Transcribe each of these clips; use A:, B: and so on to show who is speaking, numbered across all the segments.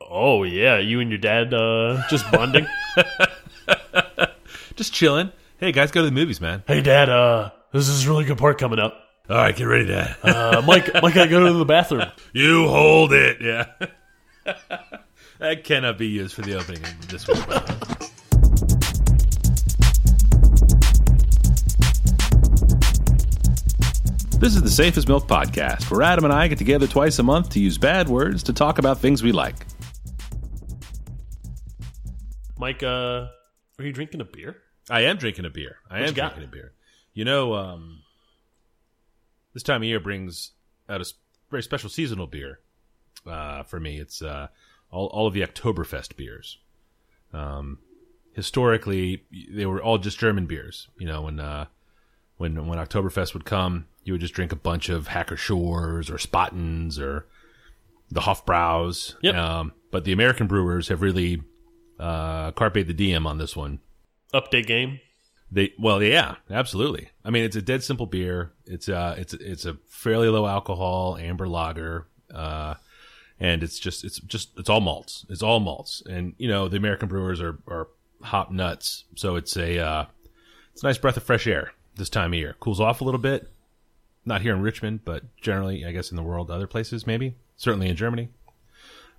A: Oh yeah, you and your dad uh, just bonding.
B: Just chilling. Hey guys, go to the movies, man.
A: hey dad, uh, this is a really good part coming up.
B: All right, get ready, Dad.
A: Uh, Mike, Mike, I go to the bathroom.
B: you hold it. Yeah. that cannot be used for the opening of this week. This is the Safest Milk Podcast, where Adam and I get together twice a month to use bad words to talk about things we like.
A: Mike, uh, are you drinking a beer?
B: I am drinking a beer. I am
A: you got?
B: drinking a beer. You know, um, this time of year brings out a s- very special seasonal beer uh, for me. It's uh, all, all of the Oktoberfest beers. Um, historically, y- they were all just German beers. You know, when uh, when when Oktoberfest would come, you would just drink a bunch of Hacker Shores or Spattens or the Hofbraus.
A: Yep.
B: Um, but the American brewers have really uh, carpe the diem on this one.
A: Update game.
B: They well, yeah, absolutely. I mean, it's a dead simple beer. It's uh it's it's a fairly low alcohol amber lager, uh, and it's just it's just it's all malts. It's all malts, and you know the American brewers are are hop nuts, so it's a uh, it's a nice breath of fresh air this time of year. Cools off a little bit. Not here in Richmond, but generally, I guess in the world, other places maybe. Certainly in Germany.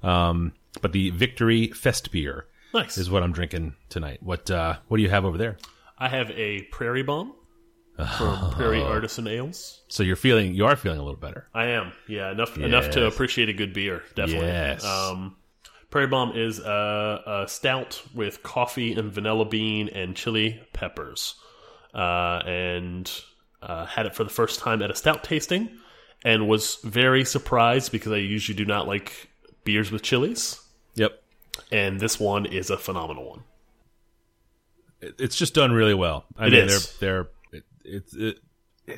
B: Um, but the Victory Fest beer
A: Nice.
B: is what I'm drinking tonight. What uh, what do you have over there?
A: I have a Prairie Bomb from Prairie Artisan Ales.
B: So you're feeling you are feeling a little better.
A: I am. Yeah, enough enough to
B: Yes.
A: appreciate a good beer. Definitely.
B: Yes.
A: Um, Prairie Bomb is a, a stout with coffee and vanilla bean and chili peppers, uh, and uh, had it for the first time at a stout tasting, and was very surprised because I usually do not like beers with chilies,
B: Yep.
A: and this one is a phenomenal one.
B: It- It's just done really well. I
A: It
B: mean,
A: is.
B: they're they're it, it's it,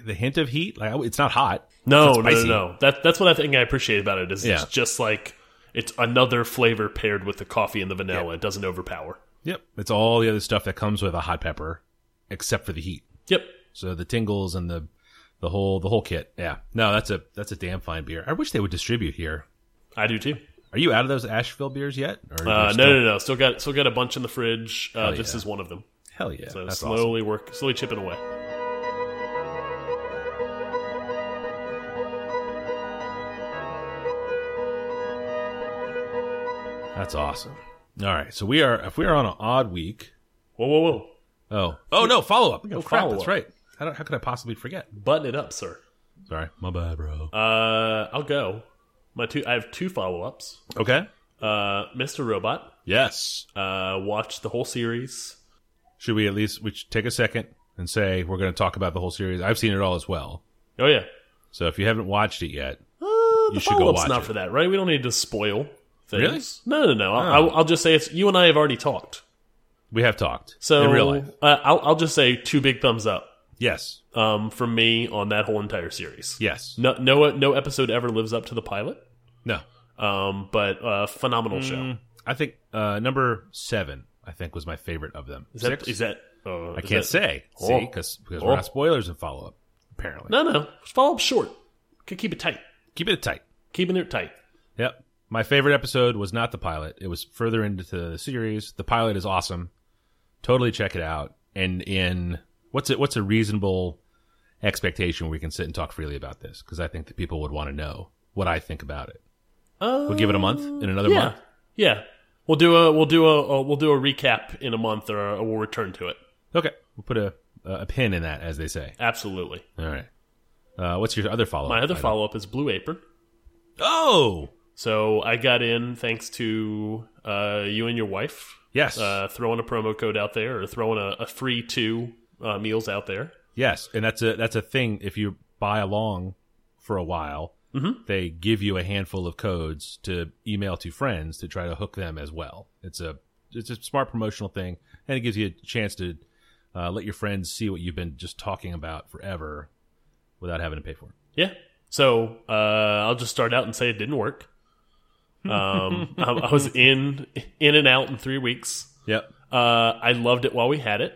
B: the hint of heat. Like I- it's not hot.
A: No,
B: It's
A: no,
B: not
A: no,
B: spicy.
A: no. That that's what I think I appreciate about it is
B: Yeah.
A: it's just like it's another flavor paired with the coffee and the vanilla. It doesn't overpower.
B: Yep. It's all the other stuff that comes with a hot pepper, except for the heat.
A: Yep.
B: So the tingles and the the whole the whole kit. Yeah. No, that's a that's a damn fine beer. I wish they would distribute here.
A: I do too.
B: Are you out of those Asheville beers yet? Or you're
A: Uh,
B: still-
A: no, no, no. Still got still got a bunch in the fridge. Uh, this
B: yeah.
A: is one of them.
B: Hell yeah.
A: So
B: that's awesome.
A: slowly work, slowly chipping away.
B: That's awesome. All right. So we are if we are on an odd week.
A: Whoa, whoa, whoa!
B: Oh. Oh no. Follow up. Oh crap.
A: follow
B: That's
A: up.
B: right. How, do- how could I possibly forget?
A: Button it up, sir.
B: Sorry. My bad, bro.
A: Uh, I'll go. My two. I have two follow ups.
B: okay.
A: Uh, Mr. Robot.
B: Yes.
A: Uh, watched the whole series.
B: Should we at least we should take a second and say we're going to talk about the whole series? I've seen it all as well.
A: Oh yeah.
B: So if you haven't watched it yet,
A: Uh, the
B: You should go
A: follow-up's
B: watch
A: not
B: it.
A: for that, right? We don't need to spoil things. Really? No, no, no.
B: Oh.
A: I'll, I'll- I'll just say it's you and I have already talked.
B: we have talked
A: So
B: in real life.
A: Uh, I'll, I'll just say two big thumbs up
B: Yes,
A: um, from me on that whole entire series.
B: yes,
A: No, no, no episode ever lives up to the pilot.
B: no.
A: Um, but uh, phenomenal show.
B: I think uh, number seven, I think, was my favorite of them.
A: Is that? Is that uh,
B: I can't say see
A: Oh.
B: because because
A: Oh.
B: we're not spoilers in follow up. Apparently,
A: No, no. Follow up short. Could keep it tight.
B: keep it tight.
A: Keeping it tight.
B: Yep. My favorite episode was not the pilot. It was further into the series. The pilot is awesome. Totally check it out. And in what's it what's a reasonable expectation where we can sit and talk freely about this because I think that people would want to know what I think about it.
A: Uh,
B: We'll give it a month in another
A: yeah,
B: month.
A: yeah. We'll do a we'll do a, a we'll do a recap in a month, or we'll return to it.
B: Okay. We'll put a a pin in that as they say.
A: Absolutely.
B: All right. Uh, what's your other follow up?
A: My other follow up is Blue Apron.
B: Oh.
A: So I got in thanks to uh, you and your wife
B: Yes.
A: uh, throwing a promo code out there or throwing a, a free two uh, meals out there.
B: Yes, and that's a that's a thing. If you buy along for a while, they give you a handful of codes to email to friends to try to hook them as well. It's a it's a smart promotional thing, and it gives you a chance to uh, let your friends see what you've been just talking about forever without having to pay for it.
A: Yeah. So uh, I'll just start out and say it didn't work. Um, I, I was in in and out in three weeks.
B: Yep.
A: Uh, I loved it while we had it.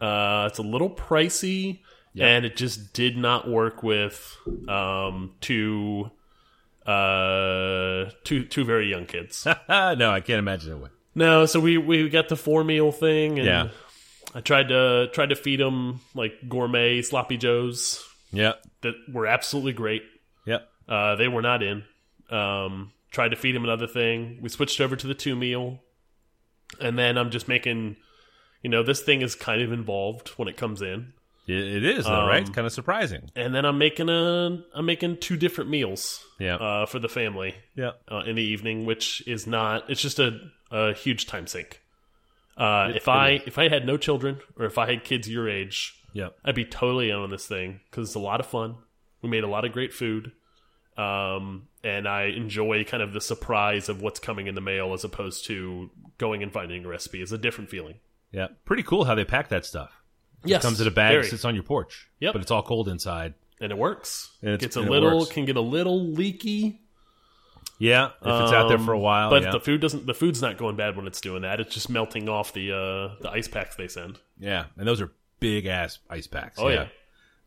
A: Uh, it's a little pricey,
B: Yeah.
A: and it just did not work with um, two uh, two two very young kids.
B: no, I can't imagine it would.
A: no, so we we got the four meal thing, and
B: Yeah.
A: I tried to tried to feed them like gourmet sloppy joes
B: Yep.
A: that were absolutely great.
B: Yep.
A: Uh, they were not in. Um, tried to feed him another thing. We switched over to the two meal, and then I'm just making, you know, this thing is kind of involved when it comes in,
B: It, it is though, right? It's kind of surprising.
A: and then I'm making a I'm making two different meals,
B: Yeah.
A: uh, for the family
B: Yeah.
A: uh, in the evening, which is not. It's just a a huge time sink. Uh, if
B: it
A: I if I had no children or if I had kids your age,
B: Yep.
A: I'd be totally in on this thing because it's a lot of fun. We made a lot of great food, um, and I enjoy kind of the surprise of what's coming in the mail as opposed to going and finding a recipe. It's a different feeling.
B: Yeah. Pretty cool how they pack that stuff.
A: Yes,
B: It comes in a bag,
A: very.
B: sits on your porch.
A: Yep.
B: But it's all cold inside.
A: and it works.
B: And
A: It
B: it's-
A: gets a
B: and it
A: little
B: works.
A: can get a little leaky.
B: Yeah. If it's out there for a
A: um,
B: while.
A: but
B: yeah.
A: the food doesn't. The food's not going bad when it's doing that. It's just melting off the uh, the ice packs they send.
B: Yeah, and those are big ass ice packs.
A: Oh, yeah.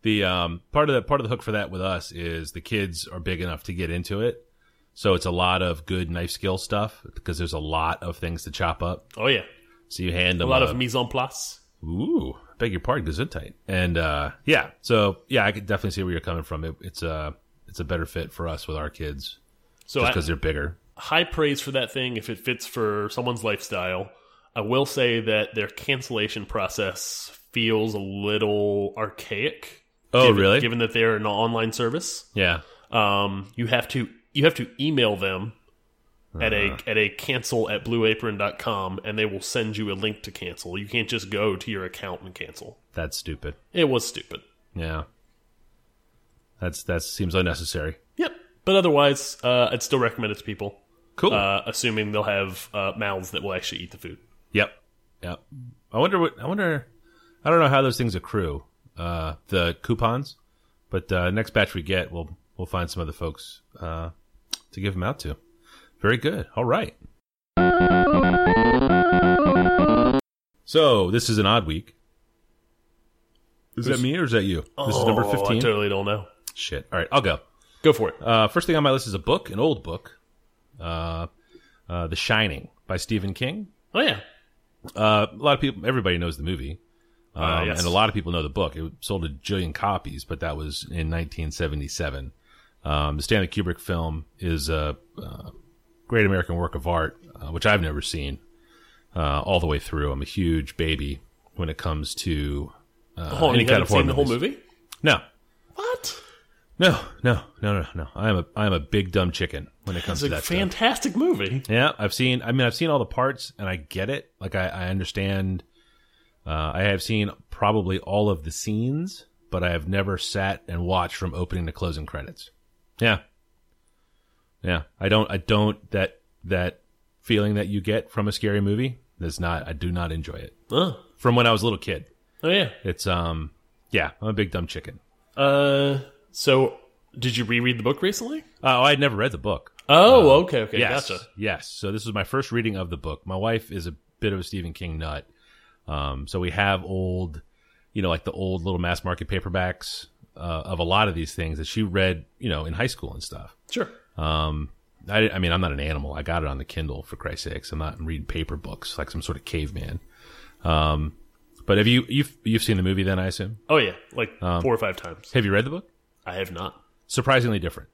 B: The um part of the part of the hook for that with us is the kids are big enough to get into it. So it's a lot of good knife skill stuff because there's a lot of things to chop up.
A: Oh yeah,
B: So you hand them uh,
A: a lot of mise en place.
B: Ooh, beg your pardon, Gesundheit. And uh, yeah, so yeah, I could definitely see where you're coming from. It, it's a it's a better fit for us with our kids
A: So
B: just
A: I,
B: because they're bigger.
A: high praise for that thing if it fits for someone's lifestyle. I will say that their cancellation process feels a little archaic.
B: Oh,
A: given-
B: really?
A: Given that they're an online service,
B: Yeah,
A: um, you have to you have to email them at
B: Uh.
A: a at a cancel at blueapron.com and they will send you a link to cancel. You can't just go to your account and cancel.
B: that's stupid.
A: It was stupid.
B: Yeah, that's that seems unnecessary.
A: Yep. But otherwise, uh, I'd still recommend it to people,
B: Cool.
A: uh, assuming they'll have uh, mouths that will actually eat the food.
B: Yep. Yep. I wonder what I wonder I don't know how those things accrue. Uh the coupons. But uh next batch we get we'll we'll find some of the folks uh to give them out to. Very good. All right. So this is an odd week. Is that me or is that you? this is number
A: Oh, I
B: fifteen.
A: totally don't know.
B: Shit. All right, I'll go.
A: Go for it.
B: Uh, first thing on my list is a book, an old book, uh, uh, "The Shining" by Stephen King.
A: Oh yeah,
B: Uh, a lot of people, everybody knows the movie, um,
A: Uh, yes.
B: and a lot of people know the book. It sold a jillion copies, but that was in 1977. Um, the Stanley Kubrick film is a uh, great American work of art, uh, which I've never seen uh, all the way through. I'm a huge baby when it comes to uh,
A: Hold on,
B: any
A: you
B: kind
A: haven't
B: of
A: seen
B: horror
A: the whole
B: movies.
A: movie?
B: No,
A: What?
B: no, no, no, no, no. I am a I am a big dumb chicken when it comes
A: It's
B: to
A: a
B: that. stuff.
A: fantastic movie.
B: Yeah, I've seen. I mean, I've seen all the parts, and I get it. Like, I, I understand. Uh, I have seen probably all of the scenes, but I have never sat and watched from opening to closing credits. Yeah, yeah. I don't. I don't. That that feeling that you get from a scary movie is not. I do not enjoy it.
A: Oh,
B: From when I was a little kid,
A: oh yeah.
B: it's um. Yeah, I'm a big dumb chicken.
A: Uh, so did you reread the book recently?
B: Uh, oh, I'd never read the book.
A: Oh, okay, okay,
B: yes,
A: gotcha.
B: Yes. So this was my first reading of the book. My wife is a bit of a Stephen King nut. Um, so we have old, you know, like the old little mass market paperbacks uh, of a lot of these things that she read, you know, in high school and stuff.
A: Sure.
B: Um, I, I mean, I'm not an animal. I got it on the Kindle for Christ's sakes. I'm not reading paper books like some sort of caveman. Um, but have you you've you've seen the movie then? I assume.
A: Oh yeah, like four or five times.
B: Have you read the book?
A: I have not.
B: Surprisingly different.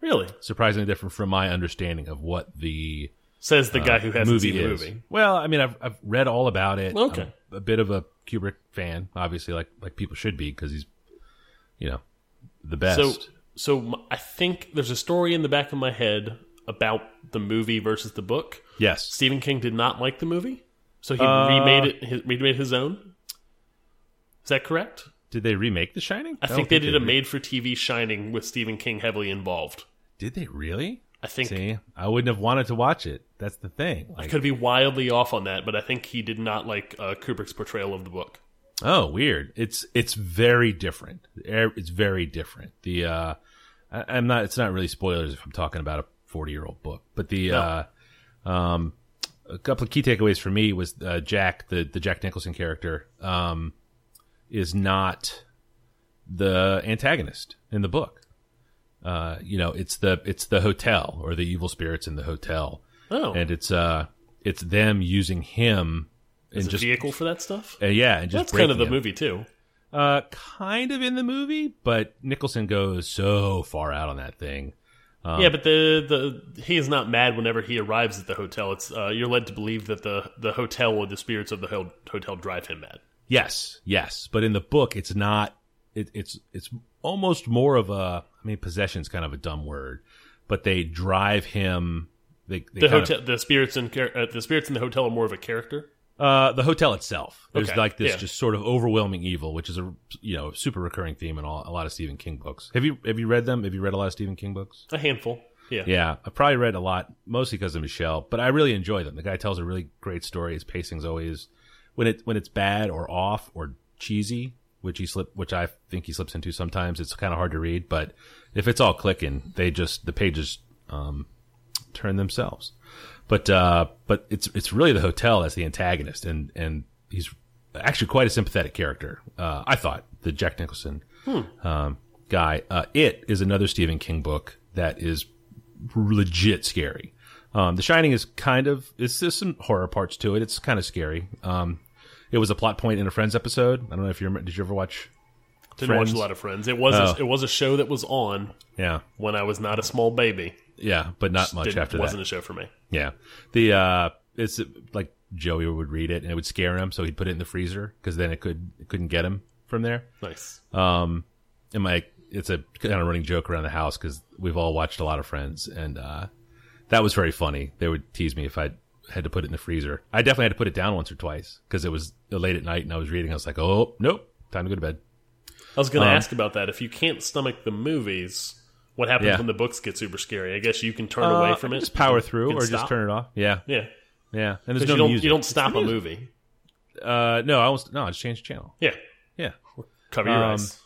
A: Really?
B: Surprisingly different from my understanding of what the
A: Says the guy who hasn't
B: movie
A: seen the
B: is.
A: Uh, movie.
B: Well, I mean, I've I've read all about it.
A: Okay.
B: I'm a bit of a Kubrick fan, obviously, like like people should be because he's, you know, the best.
A: So, so m- I think there's a story in the back of my head about the movie versus the book.
B: yes,
A: Stephen King did not like the movie, so he
B: Uh,
A: remade it. His, remade his own. Is that correct?
B: did they remake The Shining?
A: I,
B: don't
A: think they did a
B: re-
A: made-for-TV Shining with Stephen King heavily involved.
B: Did they really?
A: I think
B: See, I wouldn't have wanted to watch it. That's the thing. Like,
A: could be wildly off on that, but I think he did not like uh, Kubrick's portrayal of the book.
B: oh, weird. It's it's very different. Er- It's very different. The uh, I, I'm not. It's not really spoilers if I'm talking about a 40 year old book, but the uh, um, a couple of key takeaways for me was uh, Jack, the the Jack Nicholson character, um, is not the antagonist in the book. Uh, you know, it's the it's the hotel or the evil spirits in the hotel,
A: Oh,
B: and it's uh it's them using him
A: is
B: and
A: a
B: just
A: vehicle for that stuff.
B: uh, yeah, and
A: That's
B: just
A: kind of
B: breaking
A: the
B: him.
A: movie too.
B: Uh, kind of in the movie, but Nicholson goes so far out on that thing. Um,
A: yeah, but the the he is not mad whenever he arrives at the hotel. It's uh, you're led to believe that the the hotel or the spirits of the ho hotel drive him mad.
B: Yes, yes, but in the book, it's not. It, it's it's almost more of a. I mean, possession's kind of a dumb word, but they drive him. They, they
A: The
B: kind
A: hotel, the spirits in char- uh, the spirits in the hotel are more of a character.
B: Of, uh, the hotel itself. There's
A: Okay,
B: like this
A: yeah.
B: just sort of overwhelming evil, which is a you know super recurring theme in all, a lot of Stephen King books. Have you have you read them? Have you read a lot of Stephen King books?
A: A handful. Yeah.
B: Yeah, I probably read a lot, mostly because of Michelle, but I really enjoy them. The guy tells a really great story. His pacing's always when it when it's bad or off or cheesy, which he slip, which I think he slips into sometimes. It's kind of hard to read, but if it's all clicking, they just the pages um, turn themselves. But uh, but it's it's really the hotel as the antagonist, and and he's actually quite a sympathetic character. Uh, I thought the Jack Nicholson um, guy. Uh, it is another Stephen King book that is legit scary. Um, the Shining is kind of it's there's some horror parts to it. It's kind of scary. Um, it was a plot point in a Friends episode. I don't know if you remember, did you ever watch?
A: Didn't
B: Friends. Oh.
A: watch a lot of Friends. It was a, it was a show that was on
B: Yeah,
A: when I was not a small baby.
B: yeah, but not much
A: Didn't-
B: after that.
A: wasn't a show for me.
B: Yeah. The uh it's like Joey would read it and it would scare him, so he'd put it in the freezer because then it could it couldn't get him from there.
A: Nice.
B: And my it's a kind of running joke around the house because we've all watched a lot of Friends, and uh that was very funny. They would tease me if I had to put it in the freezer. I definitely had to put it down once or twice because it was late at night and I was reading. I was like, oh nope, time to go to bed.
A: I was
B: Um,
A: going to ask about that. If you can't stomach the movies, what happens
B: Yeah. Uh,
A: when the books get super scary? I guess you can turn away from it.
B: just power
A: You
B: through
A: can
B: or just
A: stop.
B: turn it off. Yeah,
A: Yeah,
B: yeah. And there's
A: because
B: no
A: you don't
B: music.
A: you don't stop a movie.
B: Uh, no, I almost no. I just changed the channel.
A: Yeah,
B: Yeah.
A: cover your
B: Um,
A: eyes.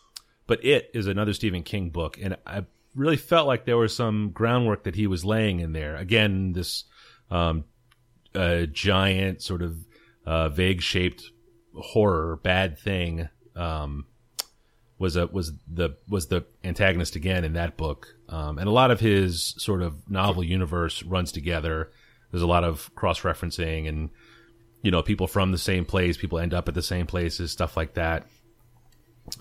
B: but it is another Stephen King book, and I really felt like there was some groundwork that he was laying in there. Again, this um, uh, giant sort of uh, vague shaped horror bad thing um, was a was the was the antagonist again in that book, um, and a lot of his sort of novel universe runs together. There's a lot of cross referencing and. You know, people from the same place, people end up at the same places, stuff like that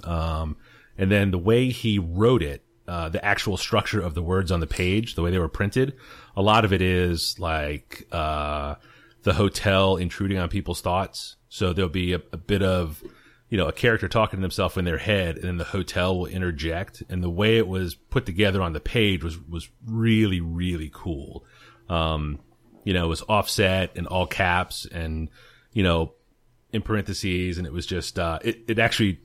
B: and then the way he wrote it, uh, the actual structure of the words on the page, the way they were printed, a lot of it is like uh, the hotel intruding on people's thoughts. So there'll be a, a bit of, you know, a character talking to themselves in their head, and then the hotel will interject. And the way it was put together on the page was was really really cool. Um, you know, it was offset and all caps, and you know, in parentheses, and it was just uh, it it actually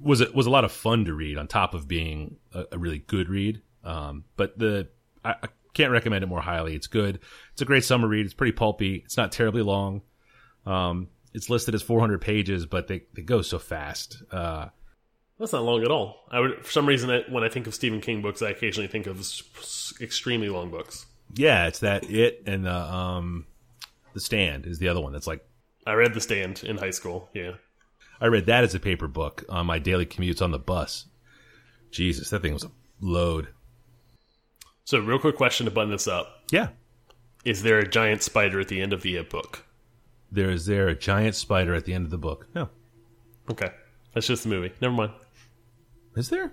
B: was it was a lot of fun to read on top of being a, a really good read. Um, but the I, I can't recommend it more highly. It's good. It's a great summer read. It's pretty pulpy. It's not terribly long. Um, it's listed as 400 pages, but they, they go so fast. Uh,
A: That's not long at all. I would for some reason I, when I think of Stephen King books, I occasionally think of s- s- extremely long books.
B: yeah, it's that it and the um, the stand is the other one that's like
A: I read The Stand in high school. Yeah,
B: I read that as a paper book on my daily commutes on the bus. Jesus, that thing was a load.
A: So, real quick question to button this up:
B: Yeah,
A: Is there a giant spider at the end of the It book?
B: there is there a giant spider at the end of the book. No.
A: Okay, that's just the movie. Never mind.
B: Is there?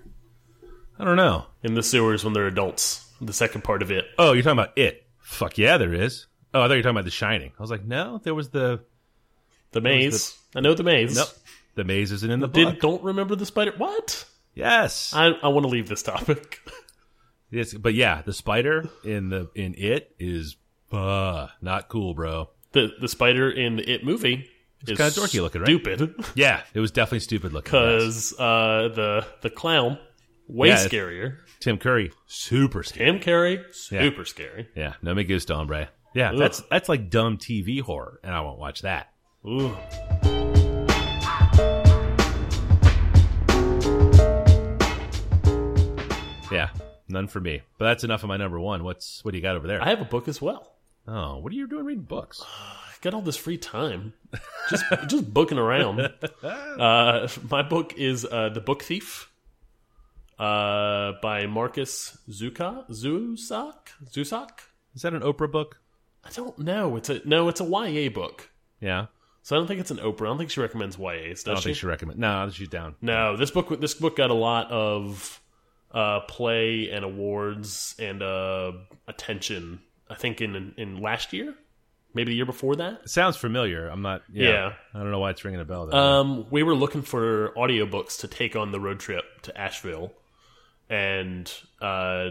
B: I don't know.
A: In the sewers when they're adults, the second part of it.
B: Oh, you're talking about it. Fuck yeah, there is. Oh, I thought you were talking about The Shining. I was like, no, there was the
A: The maze. I know the maze.
B: nope. The maze isn't in the book.
A: Did don't remember the spider. What?
B: yes,
A: I I want to leave this topic.
B: yes, but yeah, the spider in the in it is uh, not cool, bro.
A: The the spider in the It movie is
B: kinda dorky looking, right?
A: Stupid
B: Yeah, it was definitely stupid looking. yes.
A: because uh, the the clown way
B: Yeah, it's-
A: scarier.
B: Tim Curry, super scary.
A: Tim Carey super scary.
B: Yeah, no me gusta, hombre. Yeah, that's that's like dumb TV horror, and I won't watch that.
A: Ooh.
B: Yeah, none for me. But that's enough of my number one. What's what do you got over there?
A: I have a book as well.
B: oh, what are you doing reading books?
A: I got all this free time, just just booking around. Uh, my book is uh, the Book Thief. uh, by Marcus Zuka Zusak Zusak.
B: Is that an Oprah book?
A: I don't know. It's a no. It's a YA book.
B: Yeah.
A: So I don't think it's an Oprah. I don't think she recommends YAs. Does
B: I don't
A: she?
B: think she recommend. No, she's down.
A: No, this book this book got a lot of uh, play and awards and uh, attention. I think in in last year, maybe the year before that.
B: It sounds familiar. I'm not. Yeah.
A: Yeah.
B: I don't know why it's ringing a bell. Though.
A: Um, we were looking for audiobooks to take on the road trip to Asheville, and uh,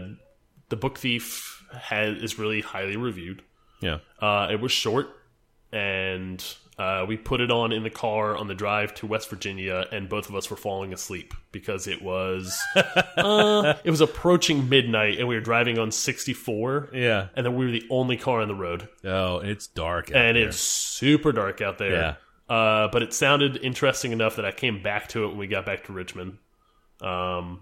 A: the Book Thief has, is really highly reviewed.
B: yeah.
A: Uh, it was short, and uh, we put it on in the car on the drive to West Virginia, and both of us were falling asleep because it was uh, it was approaching midnight, and we were driving on sixty four,
B: Yeah.
A: and then we were the only car on the road,
B: Oh, it's dark. out
A: and
B: there.
A: it's super dark out there. Uh, but it sounded interesting enough that I came back to it when we got back to Richmond. Um,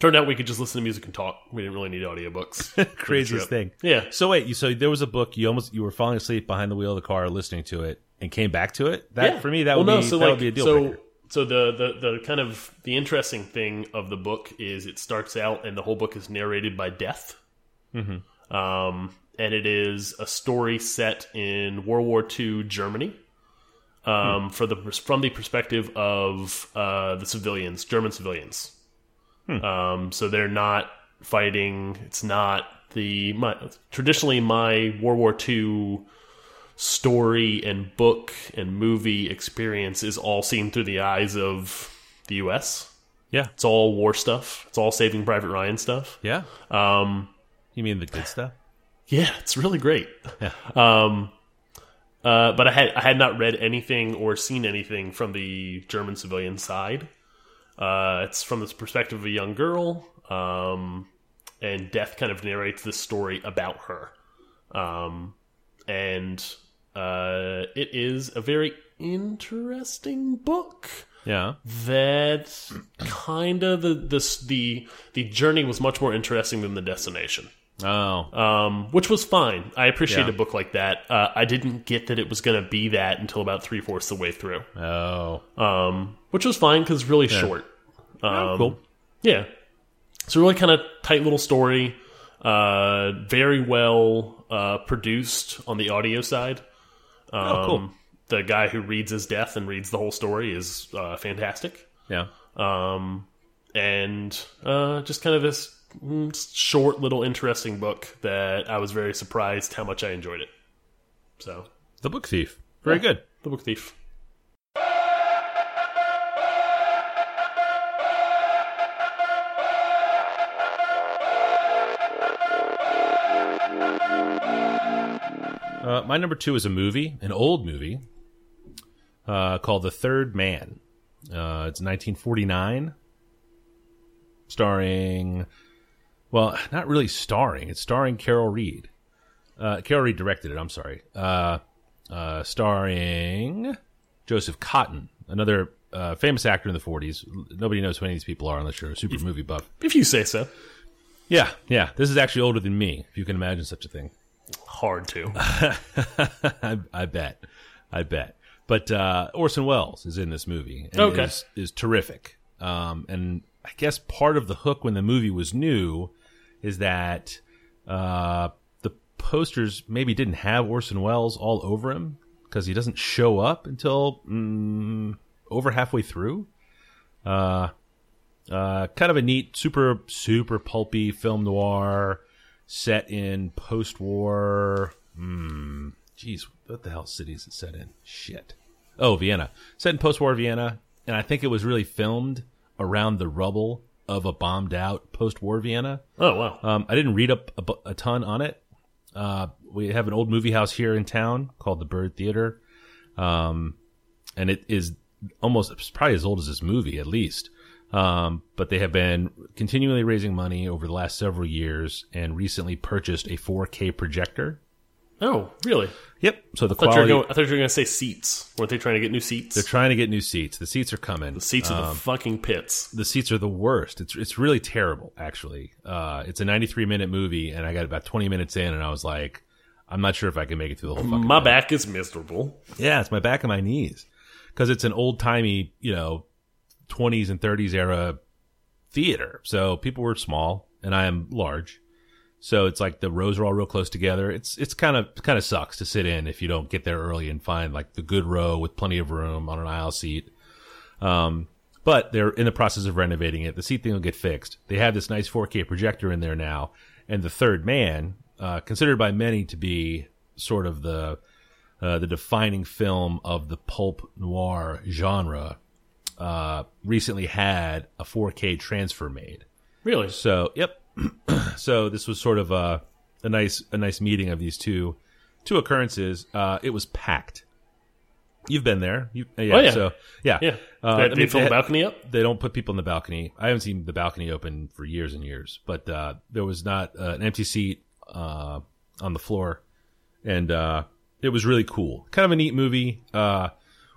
A: turned out we could just listen to music and talk. We didn't really need audiobooks. for the
B: craziest
A: trip.
B: thing.
A: Yeah.
B: So wait, you so there was a book you almost you were falling asleep behind the wheel of the car listening to it and came back to it. That for me that
A: Well,
B: would
A: no,
B: be
A: so
B: that
A: like,
B: would be a deal
A: so,
B: breaker.
A: So the, the the kind of the interesting thing of the book is it starts out and the whole book is narrated by death.
B: Mm-hmm.
A: Um, and it is a story set in World War II Germany.
B: Hmm.
A: Um, for the from the perspective of uh, the civilians, German civilians.
B: Hmm.
A: Um, so they're not fighting. It's not the my traditionally my World War II story and book and movie experience is all seen through the eyes of the U.S.
B: Yeah.
A: It's all war stuff. It's all Saving Private Ryan stuff.
B: Yeah.
A: Um,
B: You mean the good stuff?
A: yeah, it's really great. Um, uh, but I had I had not read anything or seen anything from the German civilian side. Uh, it's from this perspective of a young girl, um, and death kind of narrates this story about her, um, and uh, it is a very interesting book
B: Yeah.
A: that kind of the this the the journey was much more interesting than the destination
B: Oh.
A: um, which was fine. I appreciate
B: Yeah.
A: a book like that. Uh, I didn't get that it was going to be that until about three fourths of the way through,
B: Oh.
A: um, which was fine because really short.
B: Oh, cool.
A: Yeah, so really kind of tight little story, uh, very well uh, produced on the audio side. Um,
B: Oh, cool.
A: The guy who reads his death and reads the whole story is uh, fantastic
B: Yeah.
A: um, and uh, just kind of this mm, short little interesting book that I was very surprised how much I enjoyed it. So,
B: The book thief. Very
A: Yeah.
B: good.
A: The Book Thief.
B: Uh, my number two is a movie, an old movie, uh, called The Third Man. Uh, it's 1949, starring, well, not really starring. It's starring Carol Reed. Uh, Carol Reed directed it. I'm sorry. Uh, uh, starring Joseph Cotton, another uh, famous actor in the 40s. Nobody knows who any of these people are unless you're a super movie buff.
A: If you say so.
B: Yeah, yeah. This is actually older than me, if you can imagine such a thing.
A: Hard to.
B: I, I bet, I bet. But uh, Orson Welles is in this movie. And
A: Okay.
B: is, is terrific. Um, and I guess part of the hook when the movie was new is that uh, the posters maybe didn't have Orson Welles all over him because he doesn't show up until mm, over halfway through. Uh, uh, kind of a neat, super, super pulpy film noir set in post-war. Hmm. Geez, what the hell city is it set in? Shit. Oh, Vienna. Set in post-war Vienna, and I think it was really filmed around the rubble of a bombed-out post-war Vienna.
A: Oh, wow.
B: Um, I didn't read up a, bu- a ton on it. Uh, we have an old movie house here in town called the Bird Theater, um, and it is almost it's probably as old as this movie, at least. Um, but they have been continually raising money over the last several years, and recently purchased a 4K projector.
A: Oh, really?
B: Yep. So the
A: I thought, you were
B: quality
A: going, I thought you were going to say seats. Weren't they trying to get new seats?
B: they're um, trying to get new seats. The seats are coming.
A: The seats are the fucking pits.
B: the seats are the worst. It's it's really terrible, actually. Uh, it's a 93 minute movie, and I got about 20 minutes in, and I was like, I'm not sure if I can make it through the whole fucking.
A: My back is miserable.
B: Yeah, it's my back and my knees because it's an old timey, you know, 20s and 30s era theater, so people were small, and I am large. So it's like the rows are all real close together. It's it's kind of kind of sucks to sit in if you don't get there early and find like the good row with plenty of room on an aisle seat. Um, but they're in the process of renovating it. The seat thing will get fixed. They have this nice 4K projector in there now, and the third man, uh, considered by many to be sort of the uh, the defining film of the pulp noir genre, uh, recently had a 4K transfer made.
A: Really?
B: So, yep. so this was sort of a a nice a nice meeting of these two two occurrences. Uh, it was packed. You've been there. You, uh, yeah,
A: Oh, yeah.
B: So yeah,
A: Yeah.
B: Uh,
A: they,
B: I
A: they
B: mean,
A: fill the
B: had-
A: balcony up.
B: they don't put people in the balcony. I haven't seen the balcony open for years and years, but uh, there was not uh, an empty seat uh, on the floor, and uh, it was really cool. Kind of a neat movie. Uh,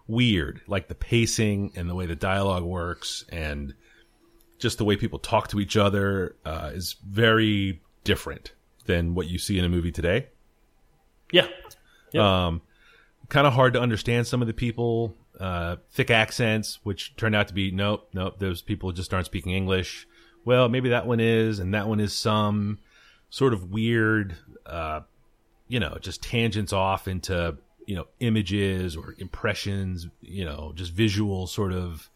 B: weird, like the pacing and the way the dialogue works, and just the way people talk to each other uh, is very different than what you see in a movie today.
A: Yeah.
B: Um, kind of hard to understand some of the people. Uh, thick accents, which turned out to be nope, nope. Those people just aren't speaking English. Well, maybe that one is, and that one is some sort of weird, uh, you know, just tangents off into you know images or impressions, you know, just visual sort of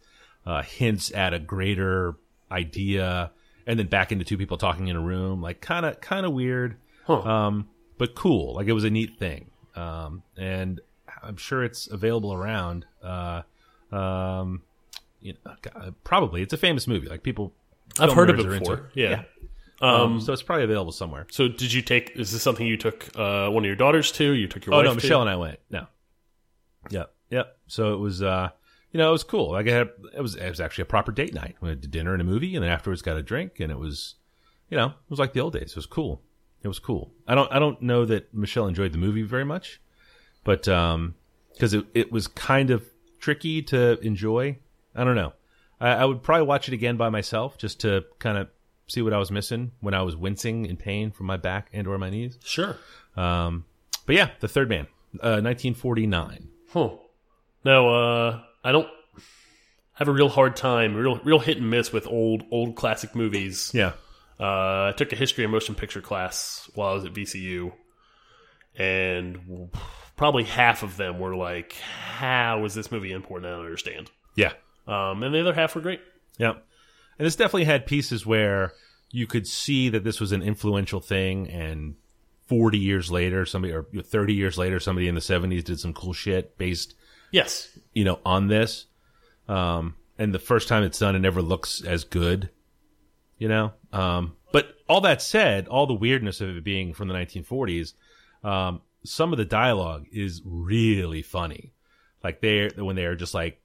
B: uh, hints at a greater idea, and then back into two people talking in a room, like kind of kind of weird
A: Huh.
B: um, but cool. Like it was a neat thing, um, and I'm sure it's available around. Uh, um, you know, g- probably it's a famous movie. Like people,
A: I've
B: film
A: heard of
B: nerds
A: it
B: are into
A: before. Yeah.
B: Um,
A: Um,
B: so it's probably available somewhere.
A: so did you take? Is this something you took uh, one of your daughters to? You took your
B: Oh
A: wife
B: no,
A: to?
B: Michelle and I went. No, yep, yep. So it was, uh, you know, it was cool. Like I had, it was, it was actually a proper date night. We went to dinner and a movie, and then afterwards got a drink, and it was, you know, it was like the old days. It was cool. It was cool. I don't, I don't know that Michelle enjoyed the movie very much, but um, because it, it was kind of tricky to enjoy. I don't know. I, I would probably watch it again by myself just to kind of see what I was missing when I was wincing in pain from my back and or my knees.
A: Sure.
B: Um, but yeah, the third man, uh, 1949.
A: Huh. No, uh, I don't I have a real hard time, real real hit and miss with old old classic movies.
B: Yeah,
A: Uh, I took a history and motion picture class while I was at VCU, and probably half of them were like, "How is this movie important?" I don't understand.
B: yeah,
A: Um, and the other half were great.
B: yeah. And this definitely had pieces where you could see that this was an influential thing, and 40 years later, somebody or 30 years later, somebody in the 70s did some cool shit based,
A: Yes,
B: you know, on this. Um, and the first time it's done, it never looks as good, you know. Um, but all that said, all the weirdness of it being from the 1940s, um, some of the dialogue is really funny. Like they when they are just like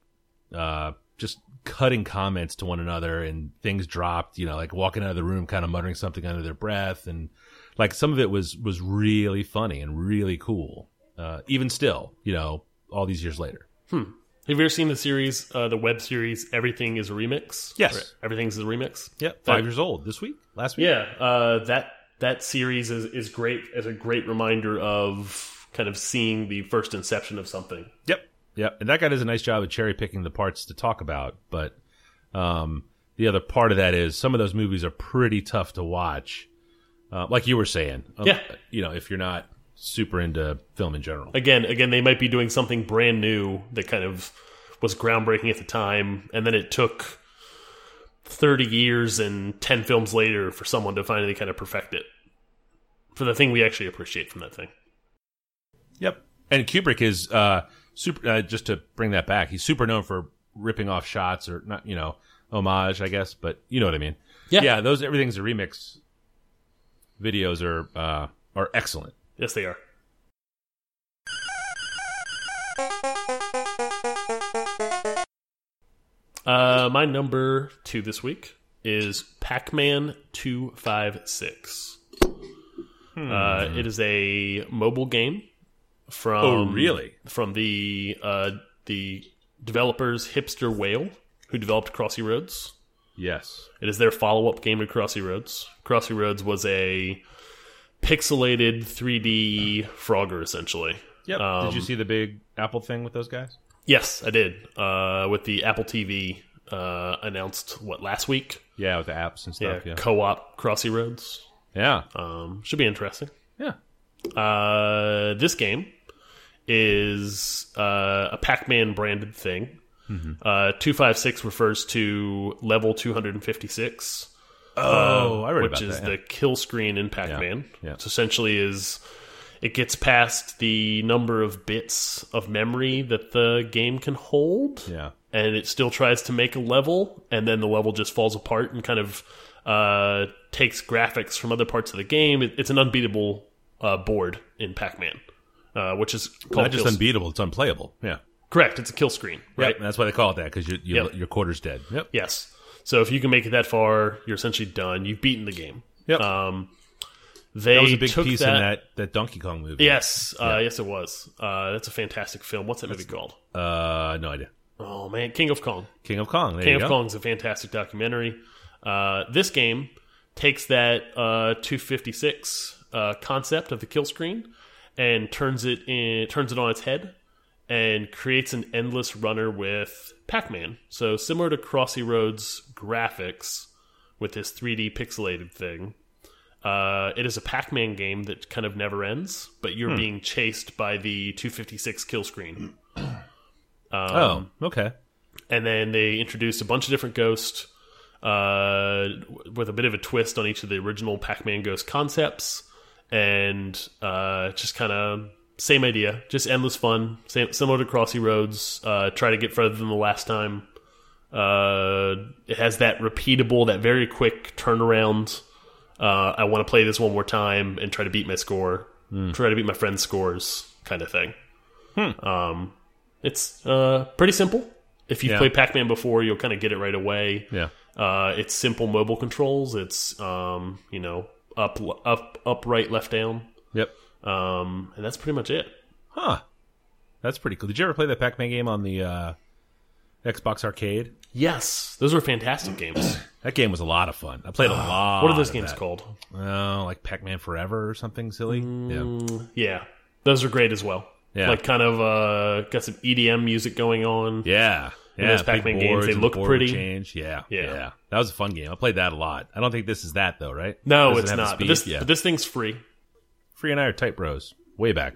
B: uh, just cutting comments to one another and things dropped, you know, like walking out of the room kind of muttering something under their breath and like some of it was was really funny and really cool. Uh, even still, you know, all these years later.
A: Have you ever seen the series, uh, the web series? Everything is a remix.
B: Yes.
A: Or everything's a remix.
B: Yeah, five years old this week, last week.
A: Yeah, uh, that that series is, is great as a great reminder of kind of seeing the first inception of something.
B: Yep, yep. And that guy does a nice job of cherry picking the parts to talk about. But um, the other part of that is some of those movies are pretty tough to watch. Uh, like you were saying, um,
A: Yeah.
B: you know, if you're not super into film in general.
A: Again, again, they might be doing something brand new that kind of was groundbreaking at the time, and then it took thirty years and ten films later for someone to finally kind of perfect it for the thing we actually appreciate from that thing.
B: Yep. And Kubrick is uh, super. Uh, just to bring that back, he's super known for ripping off shots or not, you know, homage, I guess. But you know what I mean.
A: Yeah.
B: Yeah. Those everything's a remix. Videos are uh, are excellent.
A: Yes, they are. Uh, my number two this week is Pac Man 256. Uh, it is a mobile game from
B: Oh, really?
A: from the uh, the developers Hipster Whale, who developed Crossy Roads.
B: Yes.
A: It is their follow up game to Crossy Roads. Crossy Roads was a pixelated 3D Frogger, essentially.
B: Yep.
A: Um,
B: Did you see the big Apple thing with those guys?
A: Yes, I did. Uh, with the Apple TV uh, announced what last week.
B: Yeah, with the apps and stuff. Yeah.
A: co-op Crossy Roads.
B: Yeah.
A: Um, should be interesting.
B: Yeah.
A: Uh, this game is uh, a Pac-Man branded thing. Uh, two five six refers to level two hundred and fifty six.
B: Oh, I read
A: which
B: about
A: is
B: that.
A: the kill screen in Pac-Man.
B: Yeah, yeah.
A: It's essentially is it gets past the number of bits of memory that the game can hold.
B: yeah.
A: And it still tries to make a level, and then the level just falls apart and kind of uh, takes graphics from other parts of the game. It, it's an unbeatable uh, board in Pac-Man, uh, which is called
B: Not just
A: kill-
B: unbeatable; it's unplayable. Yeah.
A: correct. It's a kill screen, right?
B: Yep, and that's why they call it that because you, you,
A: Yep.
B: your quarter's dead. Yep.
A: Yes. So if you can make it that far, you're essentially done. You've beaten the game.
B: Yep.
A: Um, they
B: that was a big
A: took
B: piece
A: that,
B: in that that Donkey Kong movie.
A: Yes, uh, yes, it was. Uh, that's a fantastic film. What's that movie called?
B: Uh, no idea.
A: Oh man, King of Kong.
B: King of Kong. There
A: King
B: you
A: of
B: go.
A: Kong's a fantastic documentary. Uh, this game takes that uh, 256 uh, concept of the kill screen and turns it in, turns it on its head and creates an endless runner with Pac-Man. So similar to Crossy Roads graphics with this 3D pixelated thing. Uh, it is a Pac-Man game that kind of never ends, but
B: Hmm.
A: you're being chased by the 256 kill screen.
B: Oh, okay.
A: and then they introduced a bunch of different ghosts uh, with a bit of a twist on each of the original Pac-Man ghost concepts, and uh, just kind of same idea, just endless fun, same, similar to Crossy Roads. Uh, try to get further than the last time. Uh, it has that repeatable, that very quick turnaround. Uh, I want to play this one more time and try to beat my score, try to beat my friend's scores, kind of thing. Um, it's uh, pretty simple. If you've
B: Yeah.
A: played Pac Man before, you'll kind of get it right away.
B: Yeah.
A: Uh, it's simple mobile controls. It's um, you know up up up right left down,
B: Yep.
A: um, and that's pretty much it.
B: Huh. That's pretty cool. Did you ever play that Pac-Man game on the uh, Xbox Arcade?
A: Yes, those were fantastic games.
B: That game was a lot of fun. I played a lot.
A: what are those
B: of
A: games
B: that.
A: called?
B: Oh, like Pac-Man Forever or something silly. Yeah.
A: Mm, Yeah, those are great as well.
B: Yeah.
A: like kind of uh, got some EDM music going on.
B: Yeah. Yeah,
A: Mm-hmm. those
B: big
A: Pac-Man games,
B: boards
A: they
B: and the
A: look
B: board
A: pretty.
B: would Change. Yeah,
A: Yeah.
B: yeah, That was a fun game. I played that a lot. I don't think this is that though, right?
A: No,
B: Does it
A: it's
B: have the
A: not. But
B: speed?
A: this
B: yeah.
A: but this thing's free.
B: Free and I are tight bros. Way back.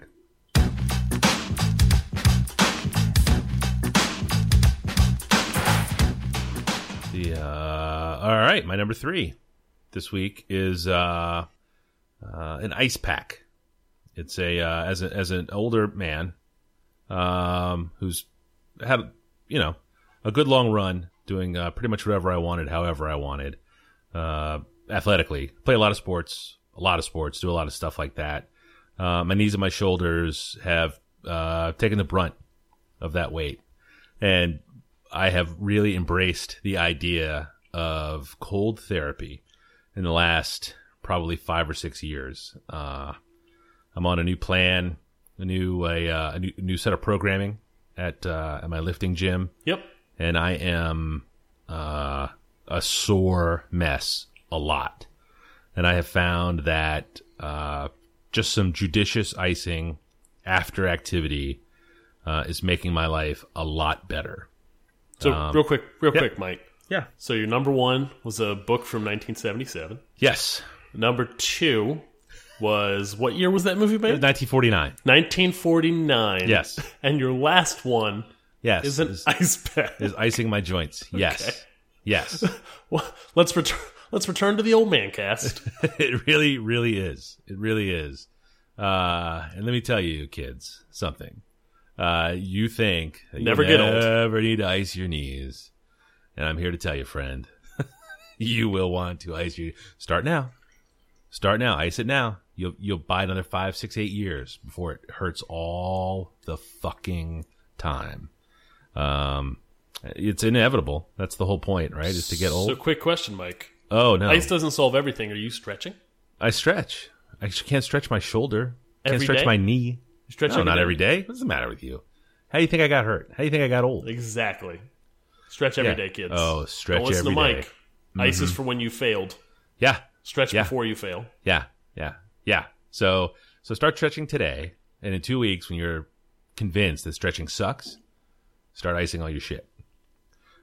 B: The uh, all right, my number three this week is uh, uh, an ice pack. It's a uh, as a, as an older man um, who's had you know a good long run doing uh, pretty much whatever I wanted, however I wanted uh, athletically. Play a lot of sports, a lot of sports, do a lot of stuff like that. Uh, my knees and my shoulders have uh, taken the brunt of that weight. And I have really embraced the idea of cold therapy in the last probably five or six years. Uh, I'm on a new plan, a new, a, uh, a new, new set of programming at, uh, at my lifting gym
A: Yep.
B: and I am uh, a sore mess a lot. And I have found that uh, just some judicious icing after activity uh, is making my life a lot better.
A: So real quick, real quick, Mike.
B: Um, Yeah.
A: So your number one was a book from 1977.
B: Yes.
A: Number two was what year was that movie made?
B: 1949.
A: 1949.
B: Yes.
A: And your last one
B: Yes.
A: is an
B: is,
A: ice pack.
B: is icing my joints. Yes.
A: Okay.
B: Yes.
A: Well, let's return. Let's return to the old man cast.
B: it really, really is. It really is. Uh, and let me tell you, kids, something. Uh, you think that you
A: Never get old.
B: never need to ice your knees, and I'm here to tell you, friend, you will want to ice your. Start now. Start now. Ice it now. You'll you'll buy another five, six, eight years before it hurts all the fucking time. Um, it's inevitable. That's the whole point, right? Is to get old.
A: So, quick question, Mike.
B: oh no,
A: Ice doesn't solve everything. Are you stretching?
B: I stretch. I sh- can't stretch my shoulder. Can't
A: Every
B: stretch
A: day?
B: my knee.
A: You stretch
B: No, not every day. What's the matter with you? How do you think I got hurt? How do you think I got old?
A: Exactly. Stretch every
B: Yeah.
A: day, kids.
B: Oh, stretch
A: Don't listen
B: every
A: to
B: day.
A: Mike. Ice is for when you failed.
B: Yeah,
A: Stretch
B: Yeah.
A: before you fail.
B: yeah, yeah, yeah. So, so start stretching today, and in two weeks, when you're convinced that stretching sucks, start icing all your shit.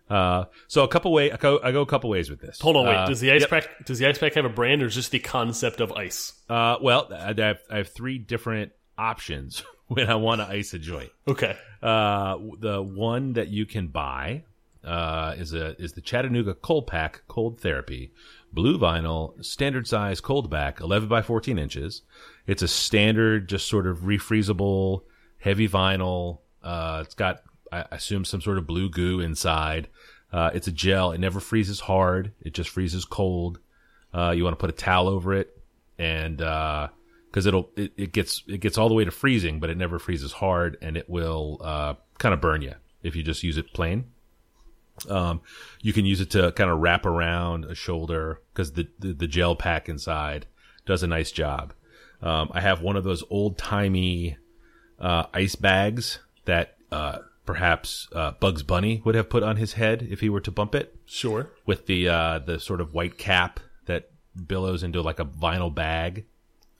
B: Uh, so a couple way, I go, I go a couple ways with this.
A: Hold on, wait.
B: Uh,
A: does the ice pack does the ice pack have a brand or just the concept of ice?
B: Uh, well, I I have, I have three different options when I want to ice a joint.
A: Okay.
B: Uh, the one that you can buy uh, is a is the Chattanooga Cold Pack Cold Therapy Blue Vinyl Standard Size Cold Pack, 11 by 14 inches. It's a standard, just sort of refreezable heavy vinyl. Uh, it's got, I assume, some sort of blue goo inside. Uh, it's a gel. It never freezes hard. It just freezes cold. Uh, you want to put a towel over it, and because it'll it, it gets it gets all the way to freezing, but it never freezes hard, and it will uh, kind of burn you if you just use it plain. Um, you can use it to kind of wrap around a shoulder because the, the the gel pack inside does a nice job. Um, I have one of those old timey uh, ice bags that uh, perhaps uh, Bugs Bunny would have put on his head if he were to bump it
A: Sure.
B: with the uh, the sort of white cap that billows into like a vinyl bag.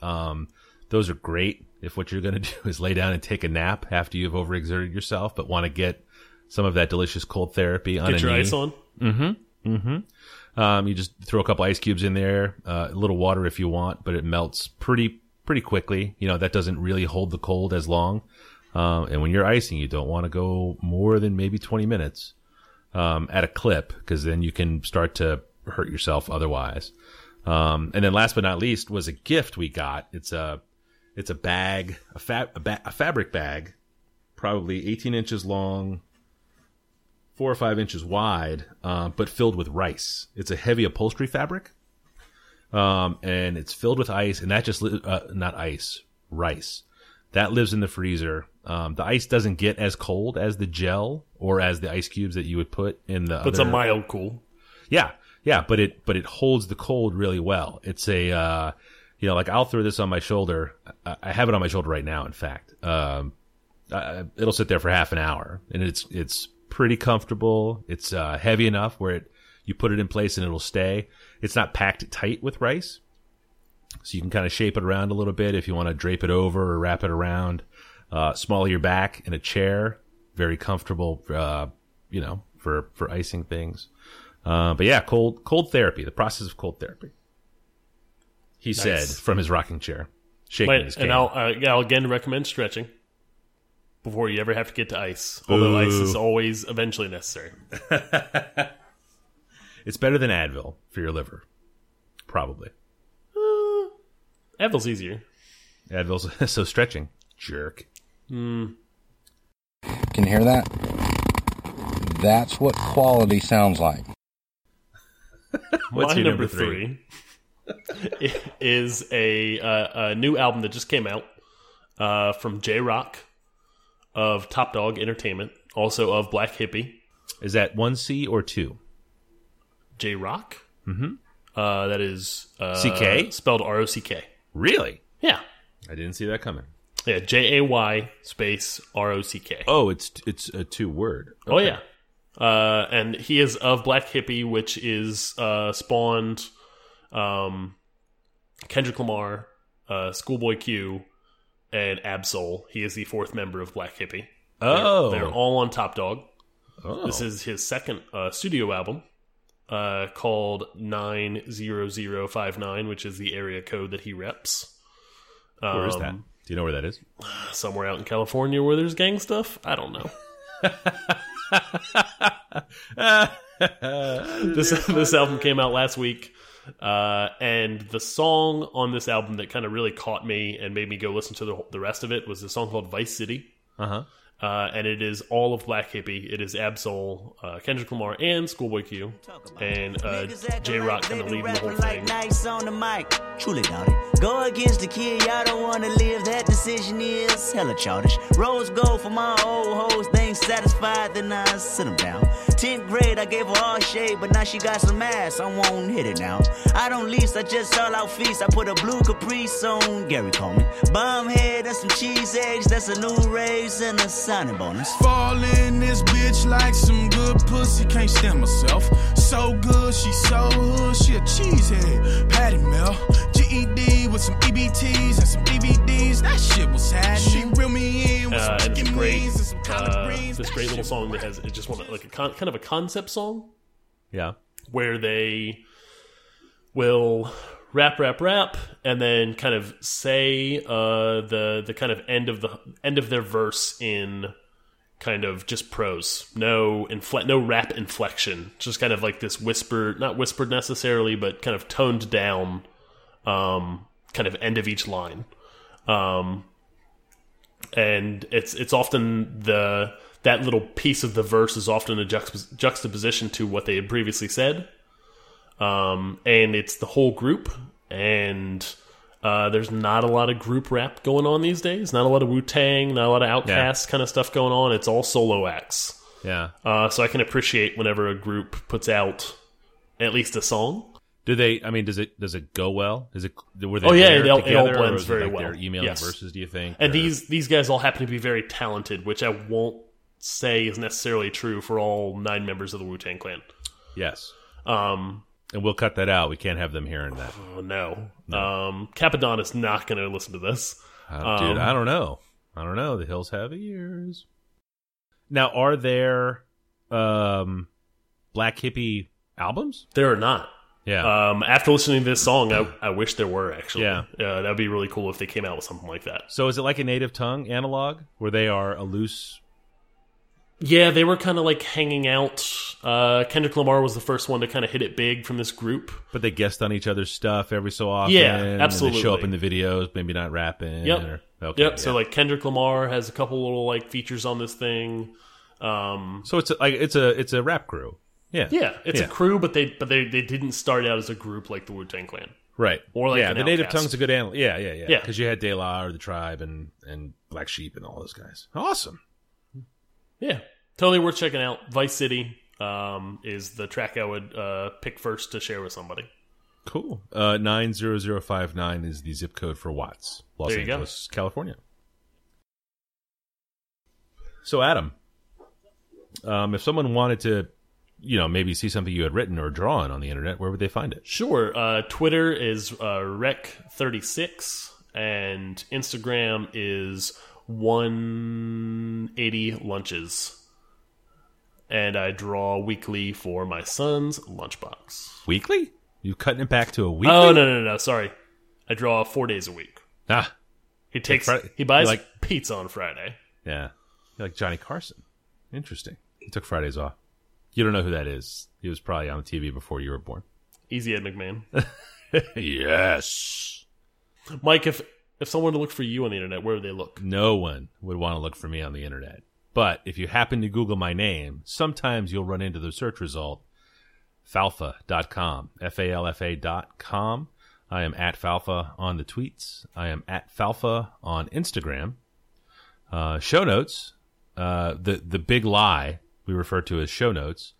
B: Um, those are great if what you're going to do is lay down and take a nap after you've overexerted yourself, but want to get some of that delicious cold therapy on
A: Get
B: a
A: your
B: knee.
A: ice on.
B: Um, you just throw a couple ice cubes in there, uh, a little water if you want, but it melts pretty pretty quickly. You know that doesn't really hold the cold as long. Um, and when you're icing, you don't want to go more than maybe 20 minutes um, at a clip, because then you can start to hurt yourself otherwise. Um, and then last but not least was a gift we got. It's a it's a bag, a, fab, a, ba- a fabric bag, probably 18 inches long, four or five inches wide, uh, but filled with rice. It's a heavy upholstery fabric, um, and it's filled with ice. And that just li uh, not ice, rice. That lives in the freezer. Um, the ice doesn't get as cold as the gel or as the ice cubes that you would put in the.
A: But it's a mild cool.
B: Yeah, yeah, but it but it holds the cold really well. It's a uh, you know like I'll throw this on my shoulder. I, I have it on my shoulder right now. In fact, um, I- I, it'll sit there for half an hour, and it's it's pretty comfortable. It's uh, heavy enough where it you put it in place and it'll stay. It's not packed tight with rice, so you can kind of shape it around a little bit if you want to drape it over or wrap it around. Uh, small of your back in a chair, very comfortable. Uh, you know for for icing things. Uh, but yeah, cold cold therapy, the process of cold therapy. He said from his rocking chair, shaking
A: Wait,
B: his cane.
A: and I'll, uh, yeah, I'll again recommend stretching before you ever have to get to ice. Although ice is always eventually necessary.
B: it's better than Advil for your liver, probably.
A: Advil's Uh, easier.
B: Advil's so stretching, jerk.
C: Can you hear that? That's what quality sounds like.
B: What's
A: My
B: your
A: number, three, is a, uh, a new album that just came out uh, from J Rock of Top Dog Entertainment, also of Black Hippie.
B: Is that one C or two?
A: J Rock. Mm-hmm. Uh, that is uh,
B: CK?
A: spelled R O C K.
B: Really?
A: Yeah,
B: I didn't see that coming.
A: yeah. J A Y space R O C K.
B: Oh, it's it's a two word.
A: Oh yeah, uh, and he is of Black Hippie, which is uh, spawned um, Kendrick Lamar, uh, Schoolboy Q, and Absol. He is the fourth member of Black Hippie.
B: Oh,
A: They're all on Top Dog.
B: oh.
A: This is his second uh, studio album uh, called 90059, which is the area code that he reps. Um,
B: where is that? Do you know where that is?
A: Somewhere out in California where there's gang stuff? I don't know. this this album came out last week, uh, and the song on this album that kind of really caught me and made me go listen to the, the rest of it was a song called Vice City.
B: Uh huh.
A: Uh, and it is all of Black Hippie. It is Absol, uh, Kendrick Lamar, and Schoolboy Q, and uh, J Rock kind of leading the whole thing.
D: Nice on the mic. Truly got it. Go against the kid, y'all don't wanna live. That decision is hella childish. Rose gold for my old hoes, they ain't satisfied, then I sit 'em down. 10th grade, I gave her all shade, but now she got some ass, I won't hit it now. I don't lease, I just all out feast. I put a blue caprice on Gary Coleman. Bum head and some cheese eggs, that's a new raise and a signing bonus.
E: Fall in this bitch like some good pussy. Can't stand myself. So good, she so hood. She a cheesehead. Patty Mel. E GED with some EBTs and some DVDs. That shit was sad. She reel me in
A: uh, and it's great. Uh, this great little song that has it's just one of- like a con- kind of a concept song
B: Yeah.
A: where they will rap rap rap and then kind of say uh the the kind of end of the end of their verse in kind of just prose no infle no rap inflection just kind of like this whisper not whispered necessarily but kind of toned down um kind of end of each line um and it's it's often the that little piece of the verse is often a juxtap juxtaposition to what they had previously said um, and it's the whole group. And uh, there's not a lot of group rap going on these days. Not a lot of Wu Tang, not a lot of Outkast kind of stuff going on. It's all solo acts.
B: Yeah.
A: Uh, so I can appreciate whenever a group puts out at least a song.
B: Do they? I mean, does it does it go well? Is it? Were they
A: Oh, yeah,
B: there
A: it all- it all
B: together, or
A: blends
B: was it,
A: very
B: like,
A: well.
B: Their email
A: Yes.
B: verses, do you think?
A: And
B: or-
A: these these guys all happen to be very talented, which I won't say is necessarily true for all nine members of the Wu Tang Clan.
B: yes,
A: Um,
B: and we'll cut that out. We can't have them hearing that,
A: oh, no, um, Capadon is not going to listen to this.
B: I don't- dude.
A: Um,
B: I don't know. I don't know. The hills have ears. Now, are there um black hippie albums? Uh,
A: There are not.
B: Yeah,
A: Um, after listening to this song, I, I wish there were actually.
B: Yeah.
A: uh, that'd be really cool if they came out with something like that.
B: So is it like a native tongue analog where they are a loose?
A: Yeah, they were kind of like hanging out. Uh, Kendrick Lamar was the first one to kind of hit it big from this group.
B: But they guest on each other's stuff every so often.
A: Yeah,
B: and
A: absolutely.
B: They show up in the videos, maybe not rapping.
A: Yep.
B: Or, okay.
A: yep.
B: yeah.
A: So like Kendrick Lamar has a couple little like features on this thing. Um,
B: so it's a, like it's a it's a rap crew. Yeah.
A: yeah, it's
B: Yeah.
A: a crew, but they but they they didn't start out as a group like the Wu Tang Clan.
B: Right.
A: Or like
B: yeah,
A: an
B: the native
A: Outkast.
B: tongue's a good analog. Yeah, yeah, yeah.
A: Yeah.
B: Because you had De La or the Tribe and and Black Sheep and all those guys. Awesome.
A: Yeah, totally worth checking out. Vice City um, is the track I would uh, pick first to share with somebody.
B: Cool. Uh, nine zero zero five nine is the zip code for Watts, Los
A: There you go.
B: Angeles, California. So, Adam, um, if someone wanted to, you know, maybe see something you had written or drawn on the internet, where would they find it?
A: Sure. Uh, Twitter is uh, rec36, and Instagram is 180 lunches. And I draw weekly for my son's lunchbox.
B: Weekly? You cutting it back to a weekly?
A: Oh, no, no, no, no. Sorry. I draw four days a week.
B: Ah,
A: He takes,
B: Friday-
A: he buys
B: you like-
A: pizza on Friday.
B: yeah. You're like Johnny Carson. Interesting. He took Fridays off. You don't know who that is. He was probably on TV before you were born.
A: Easy Ed McMahon.
B: yes.
A: Mike, if if someone were to look for you on the internet, where would they look?
B: No one would want to look for me on the internet. But if you happen to Google my name, sometimes you'll run into the search result falfa.com, F A L F A dot com. I am at falfa on the tweets. I am at falfa on Instagram. Uh, show notes, uh, the, the big lie we refer to as show notes,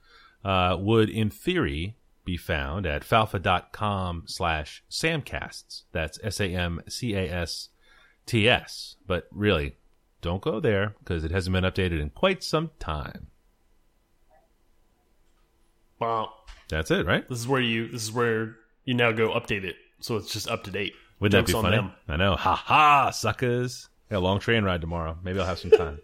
B: uh, would in theory be found at falfa.com slash samcasts. That's S A M C A S. TS, but really, don't go there because it hasn't been updated in quite some time.
A: Wow.
B: That's it, right?
A: This is where you this is where you now go update it, so it's just up to date.
B: Wouldn't
A: Joke's
B: that be
A: on them.
B: funny? I know. Ha ha, suckers. Got a long train ride tomorrow. Maybe I'll have some time.